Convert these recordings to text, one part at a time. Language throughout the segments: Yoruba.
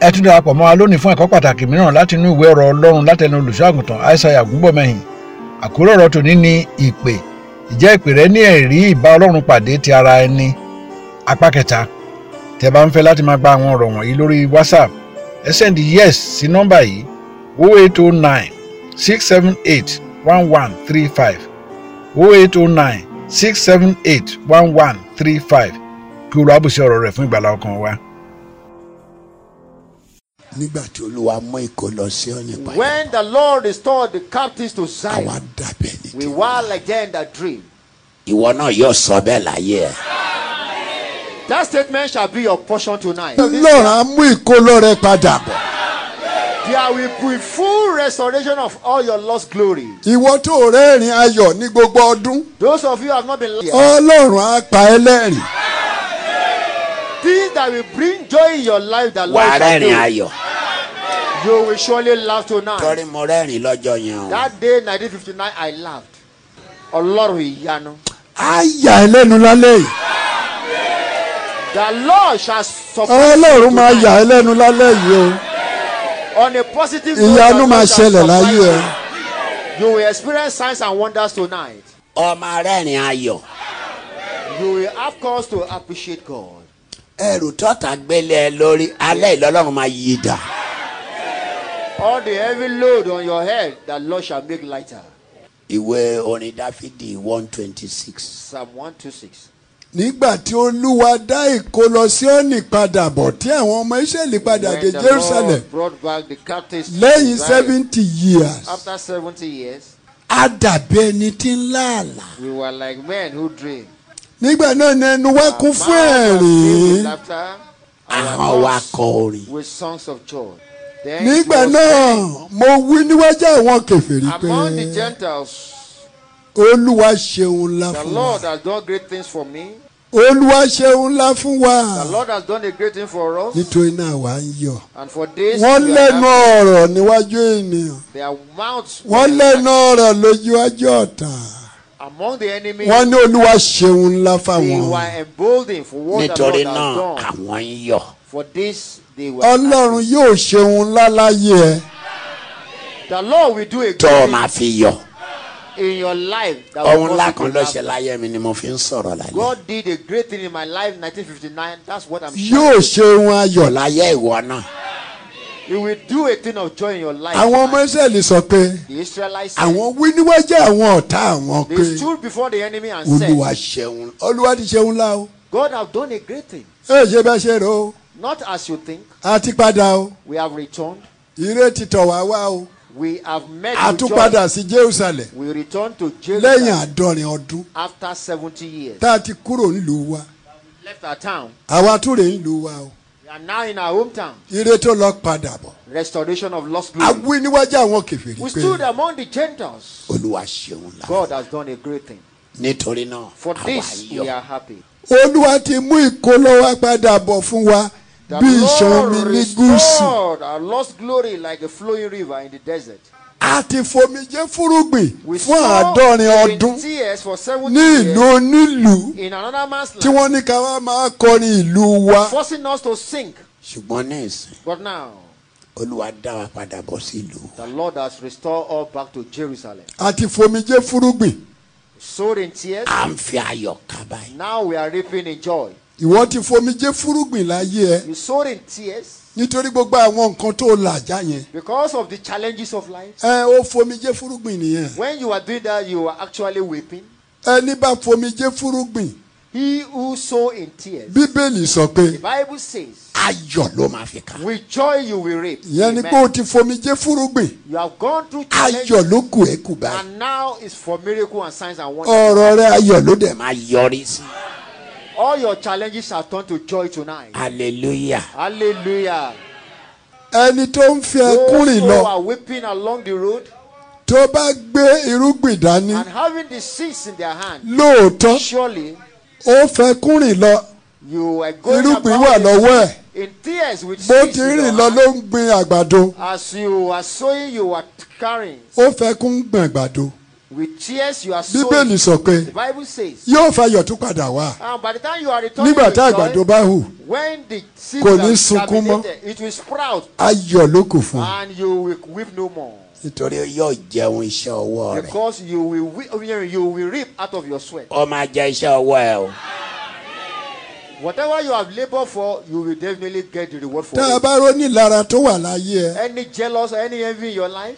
ẹ tún darapọ̀ mọ́ wa lónìí fún ẹ̀kọ́ pàtàkì mìíràn láti inú ìwé ọ̀rọ̀ ọlọ́run látẹnu olùṣọ́àgùntàn aishaiya gúnbọ̀mẹ́yìn àkúrò ọ̀rọ̀ tòní ni ìpè ìjẹ́ ìpè rẹ ní ẹ̀rí ìbá ọlọ́run pàdé ti ara ẹni apá kẹta tẹ́ bá ń fẹ́ láti máa gba àwọn ọ̀rọ̀ wọ̀nyí lórí whatsapp ẹ sẹ́ndì yes sí nọ́mbà yìí 0809 678 1135 0809 678 1135 kí olú àbùsí ọ̀rọ̀ rẹ̀ fún ìgbàlá ọkàn wa. nígbà tí olúwa mú ìkó lọ sí ọ̀nì padà When the Lord restored the captives to Zion, àwa dàbẹ̀ ní we ti were like them that dream. ìwọ náà yóò sọ bẹ́ẹ̀ láyé ẹ̀. That statement shall be your portion tonight. ọlọ́run á mú ìkó lọ rẹ padà bọ̀. There will be full restoration of all your lost glory. ìwọ tó rẹ́rìn ayọ̀ ní gbogbo ọdún Those of you who have not been Oh. here, ọlọ́run á pa ẹ́ lẹ́rìn. things that will bring joy in your life that wà á Lord shall rẹ́rìn do, ayọ̀. you will surely laugh tonight. torí mo rẹ́rìn lọ́jọ́ yẹn o. That day, 1959, I laughed. Ọlọ́run ìyanu. á yà ẹ́ lẹ́nu lálẹ́ yìí. The Lord shall support ọlọ́run máa yà ẹ́ lẹ́nu lálẹ́ yìí o. on a positive note. ìyanu the Lord máa shall ṣẹlẹ̀ surprise láyé ẹ. You You will experience signs and wonders tonight. ọmọ rẹ́rìn ayọ̀. You will have cause to appreciate God. ẹrù tọ́ta gbélé ẹ lórí alẹ́ ìlọ́lọ́run máa yí dà. All the heavy load on your head, the Lord shall make lighter. ìwé orin dáfídì one twenty six. Psalm 126. nígbà tí olúwa dá ìkó lọ sí ọ̀nì padà bọ̀ tí àwọn ọmọ israẹli padà dé When the jerusalem Lord brought back the captives to lẹ́yìn Zion, seventy years After 70 years, á dàbí ẹni tí ń láàlà. we were like men who dream. nígbà náà ni ẹnu wá Our kún fún mouths were filled with ẹ̀rín laughter, our àwọn wa mouths kọ orin. with songs of joy. Then it nígbà was náà mo wí níwájú àwọn kẹfìrí pé among the Gentiles, olúwa ṣeun ńlá the fún Lord wa has done great things for me. olúwa ṣeun ńlá fún wa The Lord has done a great thing for us. nítorí náà wà ń yọ̀ And for this, wọ́n we are lẹ́nu happy. ọ̀rọ̀ níwájú ènìyàn their mouths wọ́n were lẹ́nu ọ̀rọ̀ lójúwájú ọ̀tá. among the enemy. wọ́n ní olúwa ṣeun ńlá They fáwọn were emboldened for what nítorí the Lord náà has done. àwọn ń yọ̀. For this they were. ọlọ́run happy. yóò ṣeun ńlá láyé ẹ The Lord will do a tó o good máa fi yọ̀. thing in your life. That will ohun cause ńlá you to kan ló laugh. ṣe láyé mi ni mo fi ń sọ̀rọ̀ lálẹ́. God did a great thing in my life, 1959. That's what I'm. yóò ṣeun ayọ̀ lá. láyé ìwọ náà. He will do a thing of joy in your life. àwọn ọmọ israẹli sọ pé the Israelites. said- àwọn wí níwájú àwọn ọ̀tá àwọn They pé stood before the enemy and olúwa said, ṣeun olúwa ti ṣeun ńlá o God have done a great thing. ẹ ṣe bá ṣe rò ó Not as you think. a ti padà o We have returned. ire ti tọ̀ wá wá o We have met. a with tún joy. padà sí jerusalem We return to lẹ́yìn Jerusalem àádọ́rin ọdún after 70 years. tá a ti kúrò ńlùú wa Left our town. àwa tún rè ńlùú wa o We are now in our hometown. ire tó lọ padà bọ̀ Restoration of lost a glory. wí níwájú àwọn kẹfìrí We pé stood among the Gentiles. olúwa ṣeun láyé. God has done a great thing. nítorí náà For àwa ń this we yọ̀. are happy. olúwa ti mú ìkólọ́wá padà bọ̀ fún wa The bí ìṣàn omi Lord ní gúúsù restored our lost glory like a flowing river in the desert. àti fomijé fúrúgbìn We fún saw àádọ́rin with ọdún tears for ní 70 ìlú years onílùú in another man's tí land, wọ́n ní ká wá máa kọrin ìlú wa forcing us to sink. ṣùgbọ́n ní ìsìn But now, olúwa dá wa padà bọ̀ sí ìlú. the Lord has restored all back to Jerusalem. àti fomijé fúrúgbìn Sowed in tears, à ń fi ayọ̀ kábàáyé. now we are reaping in joy. ìwọ ti fomijé fúrúgbìn láyé ẹ You sowed in tears nítorí gbogbo àwọn nǹkan tó làjá yẹn because of the challenges of life. ẹ ó fomijé fúrúgbìn nìyẹn When you were doing that, you were actually weeping. ẹni bá fomijé fúrúgbìn He who sow in tears, bíbélì sọ pé the Bible says, ayọ̀ ló máa fi ká. with joy you will reap. ìyẹn ni Amen. pé o ti fomijé fúrúgbìn You have gone through ayọ̀ challenges, ló kù ẹ́ kù báyìí. and now it's for miracle and signs and wonders. ọ̀rọ̀ rẹ ayọ̀ ló dẹ̀ ẹ máa yọrí sí. All your challenges are turned to joy tonight. hallelujah. Hallelujah. ẹni tó ń fi ẹkún Those rìn who lọ are weeping along the road tó bá gbé irúgbìn dání and having the seeds in their hand, lóòótọ́ surely ó fẹ́ kún rìn lọ you are going irúgbìn about wà it lọ́wọ́ ẹ̀ in tears with bó seeds ti in your rìn lọ hand. ló ń gbin àgbàdo As you are sowing, you are carrying. ó fẹ́ kún gbìn àgbàdo With tears you are sowing. bíbélì sọ pé The Bible says. yóò fayọ̀ tún padà wá And by the time you are returning nígbà with tá joy, àgbàdo bá hù when the seed Kò ní has sunkún mọ́. germinated, it will sprout ayọ̀ ló kù fún un and you will weep no more. nítorí yóò jẹun iṣẹ́ ọwọ́ rẹ̀ Because you will we- you will reap out of your sweat. ó máa jẹ iṣẹ́ ọwọ́ ẹ o Whatever you have labored for, you will definitely get the reward for tá a it. bá rónìlara tó wà láyé ẹ Any jealous or any envy in your life,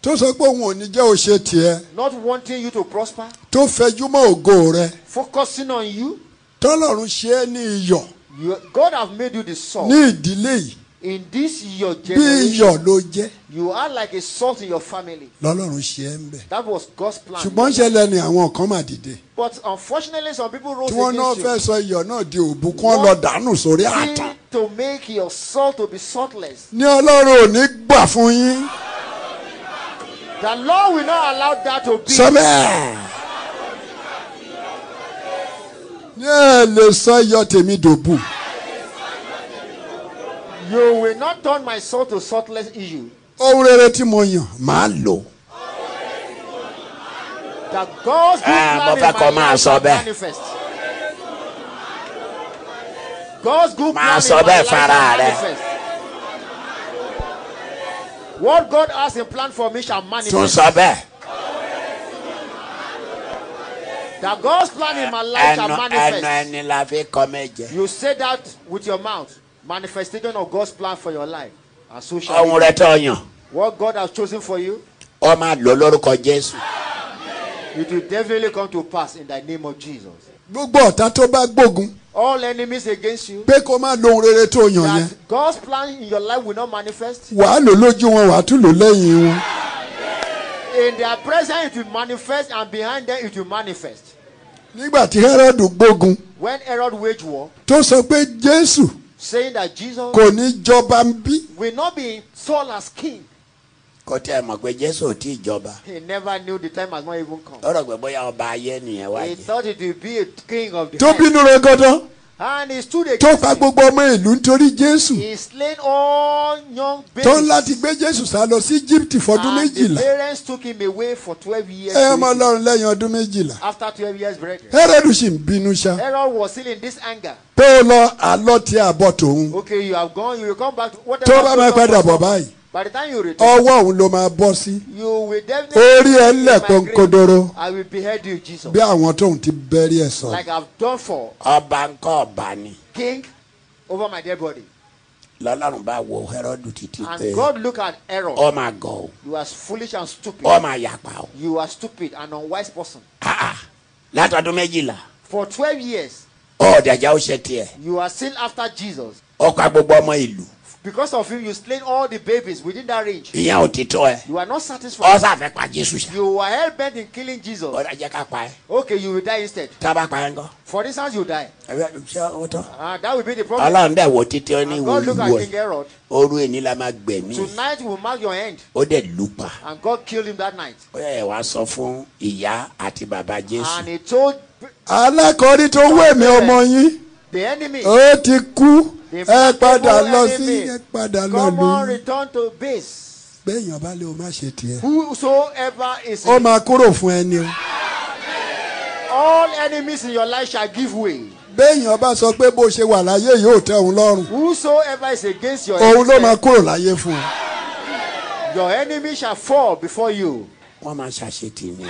tó sọ pé òun ò ní jẹ́ ó ṣe tiẹ̀ not wanting you to prosper, tó fẹjú mọ́ ògo rẹ focusing on you, tọ́lọ́run ṣe é ní iyọ̀ you God have made you the salt. ní ìdílé yìí In this your bí generation, iyọ̀ ló jẹ́ you are like a salt in your family. lọ́lọ́run ṣe é ń bẹ̀. That was God's plan. ṣùgbọ́n ṣẹlẹ̀ ni àwọn kan mà dìde But unfortunately, some people rose tí wọ́n náà against you. fẹ́ sọ iyọ̀ náà di òbu kí wọ́n lọ dànù sórí àtàn. seek to make your salt to be saltless. ní ọlọ́run ò ní gbà fún yín The Lord will not allow that to be. sọ bẹ́ẹ̀. ní ẹ lè sọ iyọ̀ tèmi dòbu You will not turn my salt to saltless issue. ohun rere tí mo yàn máa lò That God's good Ah, plan mo fẹ́ in kó my máa life sọ shall bẹ́ẹ̀. manifest. God's good Máa plan sọ in my bẹ́ẹ̀ life shall fara rẹ. manifest. What God has in plan for me shall tún manifest. sọ bẹ́ẹ̀ That God's plan in my life shall ẹnu ẹnu manifest. ẹni la fi kọ́ méje You say that with your mouth. Manifestation of God's plan for your life. And so shall ohun it. rẹ tó yàn be. What God has chosen for you. ó máa lò lórúkọ jésù It will definitely come to pass in the name of Jesus. gbogbo ọ̀tá tó bá gbógun All enemies against you, pé kó má lo ohun rere tó yàn yẹn that God's plan in your life will not manifest. wàá lò lójú wọn wàá tún lò lẹ́yìn wọn In their presence, it will manifest, and behind them, it will manifest. nígbà tí hẹ́rọ́dù gbógun When Herod waged war, tó sọ pé jésù saying that Jesus kò ní jọba ń bí will not be installed as king, kó tẹ mọ̀ pé jésù ò tí ì jọba he never knew the time has not even come. ó rò pé bóyá ọba ayé nìyẹn wá He jẹ thought it would be a king of the tó earth. bínú rẹ gọdán And he stood tó against pa him. gbogbo ọmọ ìlú nítorí jésù He slain all young tó ń babies. láti gbé jésù sá lọ sí íjíbítì fọdún And the méjìlá parents took him away for 12 years. ẹ ọmọ ọlọ́run lẹ́yìn ọdún méjìlá After 12 years, brethren. hẹ́rọ́dù sì ń bínú ṣá Herod was still in this anger. pé ó lọ àlọ́ tí a bọ̀ tòun Okay, you have gone, you will come back. To whatever tó bá máa padà bọ̀ báyìí By the time you return, ọwọ́ òun ló máa bọ́ sí you will definitely. Orí ẹ be in lẹ̀ my kónkódóró. grave. I will behead you, Jesus. bí àwọn tóun ti bẹ́rí ẹ̀ sọ Like I've done for ọba ńkọ́ ọba ni king over my dead body. lọ́lọ́run bá wo hẹ́rọ́dù títí pé And God look at Herod. ọ máa gọ̀ ọ́ You are foolish and stupid. ọ máa yapa ọ́ You are stupid and unwise person. Ah, ah. látọdún méjìlá For 12 years, ọ̀dàjà ó ṣe tiẹ̀ you are still after Jesus. ọkọ̀ gbogbo ọmọ ìlú Because of him, you slain all the babies within that range. ìyẹn ò ti tọ́ ẹ You are not ọ satisfied. sàfẹ́ pa jésù ṣá You were hell bent in killing Jesus. ọ̀dàjà ká pa ẹ Okay, you will die instead. tá a bá pa ẹ ńkọ́ For instance, you die. Ẹ̀rọ- ṣé ó tán Ah, that will be the problem. ọlọ́run dẹ̀ wo títí ó ní And wo God look ìlú at King ẹ Herod. orú ẹni la máa gbẹ̀mí ẹ. Tonight will mark your end. ó dẹ̀ lù pa And God killed him that night. ó yẹ wàá sọ fún ìyá àti bàbá And jésù he told alákọ̀ọ́rí tó wé mi ọmọ yín the enemy, ó ti kú the Oh, ẹ padà faithful lọ sí enemy, ẹ padà lọ come lù on, ú return to base. gbẹ̀yìn ọba lè o má ṣe tiẹ̀ Whosoever is in- ó máa kúrò fún ẹni o all enemies in your life shall give way. gbẹ̀yìn ọba sọ pé bó ṣe wà láyé yóò tẹ́ òun lọ́rùn Whosoever is against your òun ló máa enemy, kúrò láyé fún un your enemy shall fall before you. wọ́n máa ṣàṣetì ni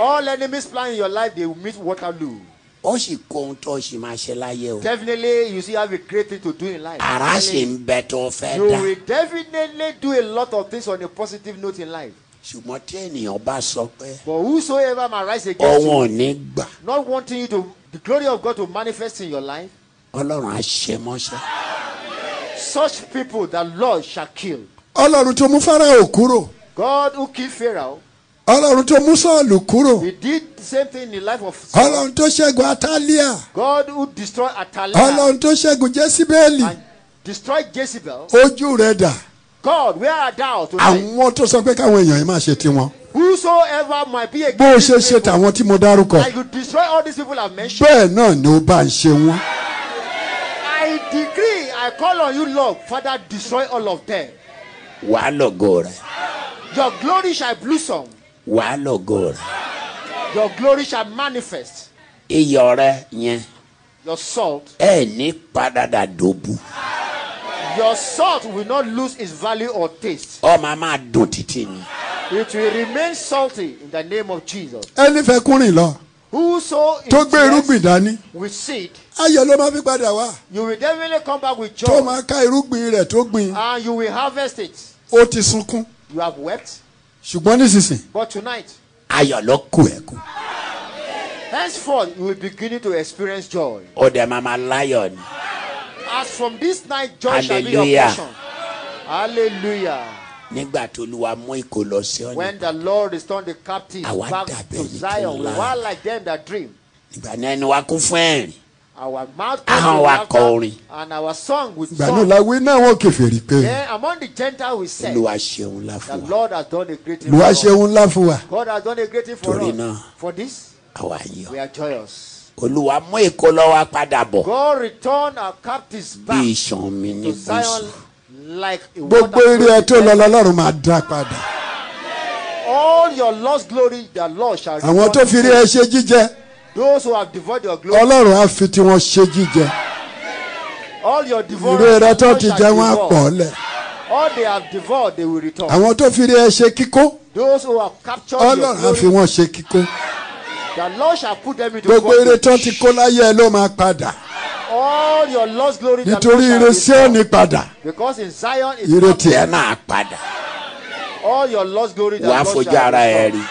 All enemies plan in your life, they will meet Waterloo. ó sì kó ohun tó sì máa ṣe láyé o Definitely, you still have a great thing to do in life. ara ṣì ń bẹ tó fẹ́ You dá will definitely do a lot of things on a positive note in life. ṣùgbọ́n tí ènìyàn bá sọ pé But whosoever might rise against ọ̀hún ò you, ní gbà not wanting you to the glory of God to manifest in your life, ọlọ́run á ṣe mọ́ṣẹ́ such people the Lord shall kill. ọlọ́run tó mú fáráò kúrò God who killed Pharaoh, ọlọ́run tó mú sọ́ọ̀lù kúrò he did the same thing in the life of Saul. ọlọ́run tó ṣẹ́gun atálíà God who destroyed Atalia ọlọ́run tó ṣẹ́gun jésíbẹ́ẹ̀lì and destroyed Jezebel. ojú rẹ̀ dà God, where are thou tonight? àwọn tó sọ pé káwọn èèyàn yìí máa ṣe tiwọn Whosoever might be bó o against ṣe these ṣe people, tàwọn tí mo dárúkọ I will destroy all these people I've mentioned. bẹ́ẹ̀ náà ni ó bá ń ṣe wọn I decree, I call on you, Lord, Father, destroy all of them. wàá lọ́gọ́ rẹ̀ Your glory shall blossom. wàá lògo rẹ̀ Your glory shall manifest. iyọ̀ rẹ̀ yẹn Your salt. ẹ̀ ní padà dàdóbu Your salt will not lose its value or taste. ọmọ a máa dùn títí ni It will remain salty in the name of Jesus. ẹni fẹ́ kúrìn lọ Whoso tó gbé irúgbìn is dání with seed, ayọ̀ ló máa fi padà wá you will definitely come back with tó joy máa ká irúgbìn rẹ̀ tó gbìn and you will harvest it. ó ti sunkún You have wept, ṣùgbọ́n nísinsìn but tonight, ayọ̀ ló kù ẹ̀ kù henceforth, you will begin to experience joy. ó dẹ̀ máa máa láyọ̀ ni As from this night, joy shall be your Hallelujah. portion. Hallelujah. nígbà tó Olúwa mú ìkó lọ sí ọ̀nà When the Lord restored the captives Àwa back dàbí to ẹni tó Zion, we lá. were like them that dream. ìgbà náà ẹnu wa kún fún ẹ̀rín Our mouth Ahọ́n wa was kọ orin. and our song with ìgbà náà song. la wí náà wọn kèfèrí pé Then among the Gentiles we said, Olúwa ṣeun ńlá The fún wa Lord has done a great thing lu for us. aṣeun ńlá fún wa God has done a great thing for Torí us. náà. For this, àwa yọ̀ we are joyous. Olúwa mú ìkó lọ wa padà bọ̀ God returned our captives bí back iṣan mi ní to Zion gúúsù like a gbogbo eré ẹ tó lọ water. lọ́lọ́run máa dá padà All your lost glory, the Lord shall àwọn tó return fi to rí ẹ you. ṣe jíjẹ Those who have devoured your glory, ọlọ́run á fi tiwọn ṣe jíjẹ all your ìró devoured ẹrẹ tó glory ti shall jẹ wọn á devour. pọ̀ ọ́lẹ̀ All they have devoured, they will return. àwọn tó fi rí ẹ ṣe kíkó Those who have captured your ọlọ́run á fi glory, wọn ṣe kíkó the Lord shall put them into gbogbo eré tó ti bondage. kó láyé ẹ ló máa padà All your lost glory, the Lord nítorí shall ire return. Síónì padà Because in Zion is ire tiẹ̀ tiẹ̀ náà padà all your lost glory that wàá God fojú shall ara ẹ̀ rí restore.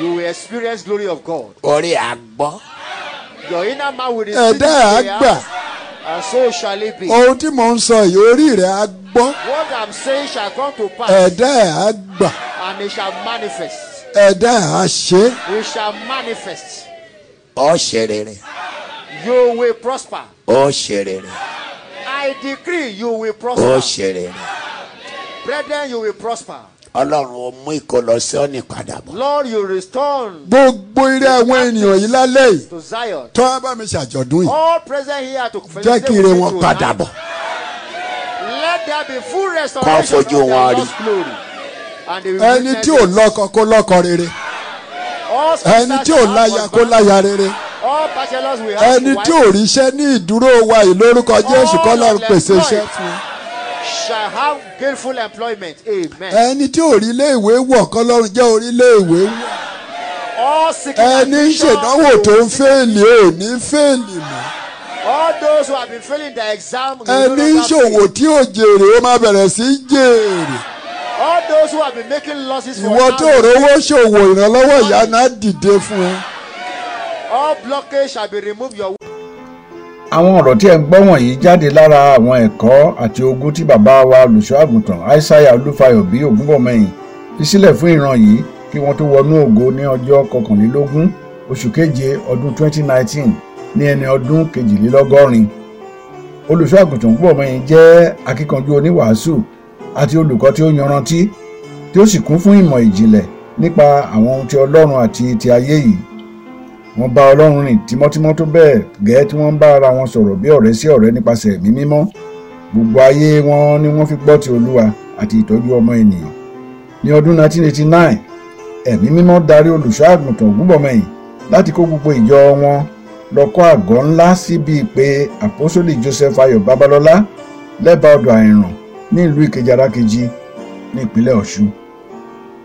You will experience glory of God. orí àgbọ́ Your inner man will receive ẹ̀dá his àgbà. prayers, and so shall it be. ohun tí mò ń sọ yìí orí rẹ̀ á gbọ́ What I'm saying shall come to pass, ẹ̀dá ẹ̀ á gbà and it shall manifest. ẹ̀dá ẹ̀ á ṣe é It shall manifest. ọ́ ṣe rere You will prosper. ọ́ ṣe rere I decree you will ọ́ prosper. ṣe rere Brethren, you will prosper. ọlọ́run ó mú ìkó lọ sí ọ̀nà padà bọ̀ Lord, you return gbogbo ire àwọn ènìyàn yìí lálẹ́ yìí to Zion. tọ́ bá mi ṣàjọ̀dún yìí All present here to jẹ́ kí ire wọn padà tonight. bọ̀ Let there be full Kọ́ restoration of fojú their wọn rí. lost glory. And they will ẹni witness tí ò it. lọ́kọ kó lọ́kọ rere All ẹni sponsors tí ò shall láya have kó husband. láya rere All bachelors will have ẹni wife. tí ò ríṣẹ́ ní ìdúró wa yìí lórúkọ Jésù kọ́ lọ́run pèsè iṣẹ́ fún un. shall have gainful employment. Amen. ẹni tí ò rí ilé ìwé wọ̀ kọ́ lọ́run jẹ́ orí ilé ìwé wọ̀ all sick ẹni ń ṣèdánwò tó ń fẹ́ẹ̀lì ò ní fẹ́ẹ̀lì mọ́ All those who have been failing their exam. will no ẹni ń longer ṣòwò fail. tí ò jèrè ó máa bẹ̀rẹ̀ sí í jèrè All those who have been making losses for ìwọ tó now. rówó ṣòwò ìrànlọ́wọ́ ìyanu á dìde fún ẹ. All blockage shall be removed. Your àwọn ọ̀rọ̀ tí ẹ̀ ń gbọ́ wọ̀nyí jáde lára àwọn ẹ̀kọ́ àti ogún tí bàbá wa olùṣọ́ àgùntàn aishaiya olúfayọ bí ògúnbọ̀mọyìn fi sílẹ̀ fún ìran yìí kí wọ́n tó wọnú ògo ní ọjọ́ kọkànlélógún oṣù keje ọdún 2019 ní ẹni ọdún kejìlélọ́gọ́rin olùṣọ́ àgùntàn ògúnbọ̀mọyìn jẹ́ akíkanjú oníwàásù àti olùkọ́ tí ó yanrantí tí ó sì kún fún ìmọ̀ ìjìnlẹ̀ nípa àwọn ohun ti ọlọ́run àti ti ayé yìí wọ́n bá ọlọ́run rìn tímọ́tímọ́ tó bẹ́ẹ̀ gẹ́ẹ́ tí wọ́n ń bá ara wọn sọ̀rọ̀ bí ọ̀rẹ́ sí ọ̀rẹ́ nípasẹ̀ ẹ̀mí mímọ́ gbogbo ayé wọn ni wọ́n fi gbọ́ ti olúwa àti ìtọ́jú ọmọ ènìyàn ní ọdún 1989 ẹ̀mí mímọ́ darí olùṣọ́ àgùntàn ògúnbọ̀mọyìn láti kó gbogbo ìjọ wọn lọ kọ́ àgọ́ ńlá síbi pé àpọ́sólì joseph ayọ̀ babalọ́lá lẹ́bàá ọdọ̀ àìràn ní ìlú ìkejì arákejì ní ìpínlẹ̀ ọ̀ṣun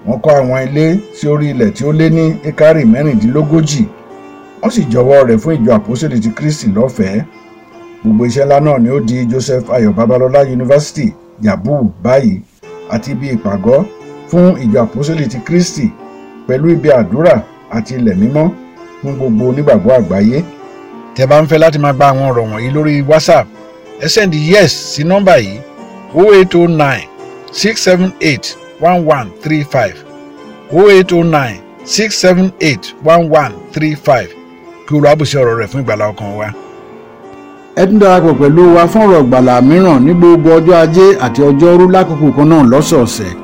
wọ́n kọ́ àwọn ilé sí orí ilẹ̀ tí ó lé ní ekari mẹ́rìndínlógójì wọ́n sì jọ̀wọ́ rẹ̀ fún ìjọ àpòsílẹ̀ ti kristi lọ́fẹ̀ẹ́ gbogbo iṣẹ́ ńlá náà ni ó di joseph ayọ̀ babalọ́lá yunifásitì yabu báyìí àti ibi ìpàgọ́ fún ìjọ àpòsílẹ̀ ti kristi pẹ̀lú ibi àdúrà àti ilẹ̀ mímọ́ fún gbogbo onígbàgbọ́ àgbáyé. tẹ́ bá ń fẹ́ láti máa gba àwọn ọ̀rọ̀ wọ̀nyí lórí whatsapp ẹ sẹ́ndí yes sí nọ́mbà yìí 0809 678 1135 0809 678 1135 kí olùwàbùsẹ̀ ọ̀rọ̀ rẹ̀ fún ìgbàlá ọkàn wa. ẹ tún darapọ̀ pẹ̀lú wa fún ọ̀rọ̀ ìgbàlá mìíràn ní gbogbo ọjọ́ ajé àti ọjọ́rú lákòókò kan náà lọ́sọ̀ọ̀sẹ̀